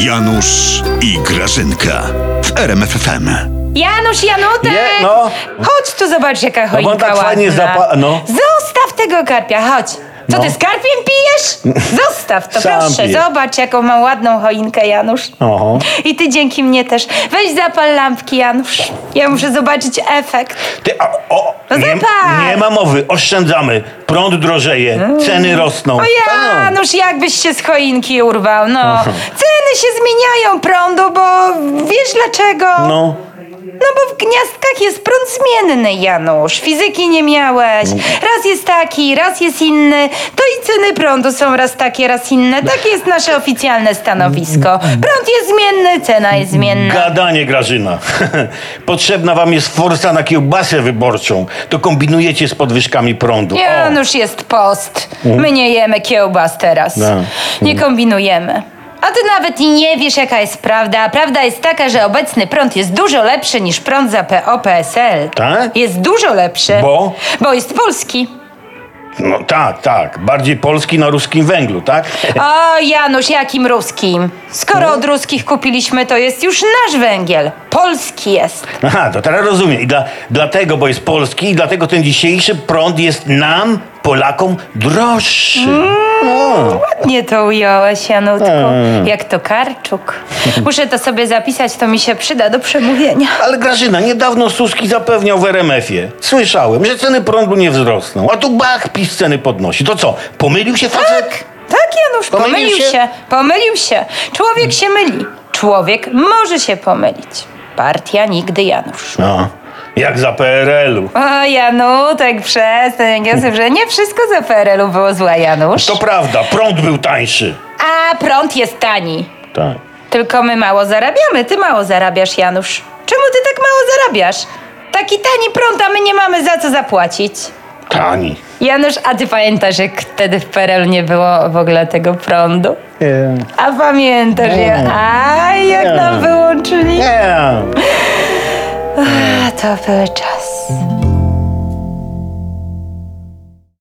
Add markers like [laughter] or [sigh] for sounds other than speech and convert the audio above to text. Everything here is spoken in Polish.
Janusz i Grażynka w RMFFM. Janusz, Janutek! Je- no. Chodź tu zobacz, jaka bo choinka on tak ładna. fajnie zapa- no. Zostaw tego karpia, chodź. Co No. ty, z karpiem pijesz? Zostaw to, [laughs] Sam proszę. piję. No. Zobacz, jaką ma ładną choinkę, Janusz. Oho. I ty dzięki mnie też. Weź zapal lampki, Janusz. Ja muszę zobaczyć efekt. Ty, a, o, No nie, zapal! nie ma mowy, oszczędzamy. Prąd drożeje, ceny rosną. Mm. O Janusz, jakbyś się z choinki urwał, no. Ceny się zmieniają prądu, bo wiesz dlaczego? No, No bo w gniazdkach jest prąd zmienny, Janusz. Fizyki nie miałeś. No. Raz jest taki, raz jest inny. To i ceny prądu są raz takie, raz inne. Takie jest nasze oficjalne stanowisko. Prąd jest zmienny, cena jest zmienna. gadanie Grażyna. [laughs] Potrzebna wam jest forsa na kiełbasę wyborczą. To kombinujecie z podwyżkami prądu. O, Janusz jest post. My nie jemy kiełbas teraz. Da. Nie kombinujemy. A ty nawet i nie wiesz, jaka jest prawda. A Prawda jest taka, że obecny prąd jest dużo lepszy niż prąd za PO-PSL. Tak? Jest dużo lepszy. Bo? Bo jest polski. no tak, tak. Bardziej polski na ruskim węglu, tak? O, Janusz, jakim ruskim? Skoro od ruskich kupiliśmy, to jest już nasz węgiel. Polski jest. Aha, to teraz rozumiem. I dla, dlatego, bo jest polski i dlatego ten dzisiejszy prąd jest nam, Polakom, droższy. Mm. No. Ładnie to ująłeś, Janutku. Jak to karczuk. Muszę to sobie zapisać, to mi się przyda do przemówienia. Ale Grażyna, niedawno Suski zapewniał w RMF-ie. Słyszałem, że ceny prądu nie wzrosną, a tu bach, PiS ceny podnosi. To co, pomylił się facet? Tak, Janusz, pomylił, Pomylił się. się? Pomylił się. Człowiek się myli. Człowiek może się pomylić. Partia nigdy, Janusz. No, jak za PRL-u. O, Janutek, przestań. Ja sobie, że nie wszystko za PRL-u było zła, Janusz. To prawda, prąd był tańszy. A prąd jest tani. Tak. Tylko my mało zarabiamy, ty mało zarabiasz, Janusz. Czemu ty tak mało zarabiasz? Taki tani prąd, a my nie mamy za co zapłacić. Tani. Janusz, a ty pamiętasz, jak wtedy w PRL nie było w ogóle tego prądu? Nie. A pamiętasz, ja... A jak nam wyłączyli? Nie. A to były czas.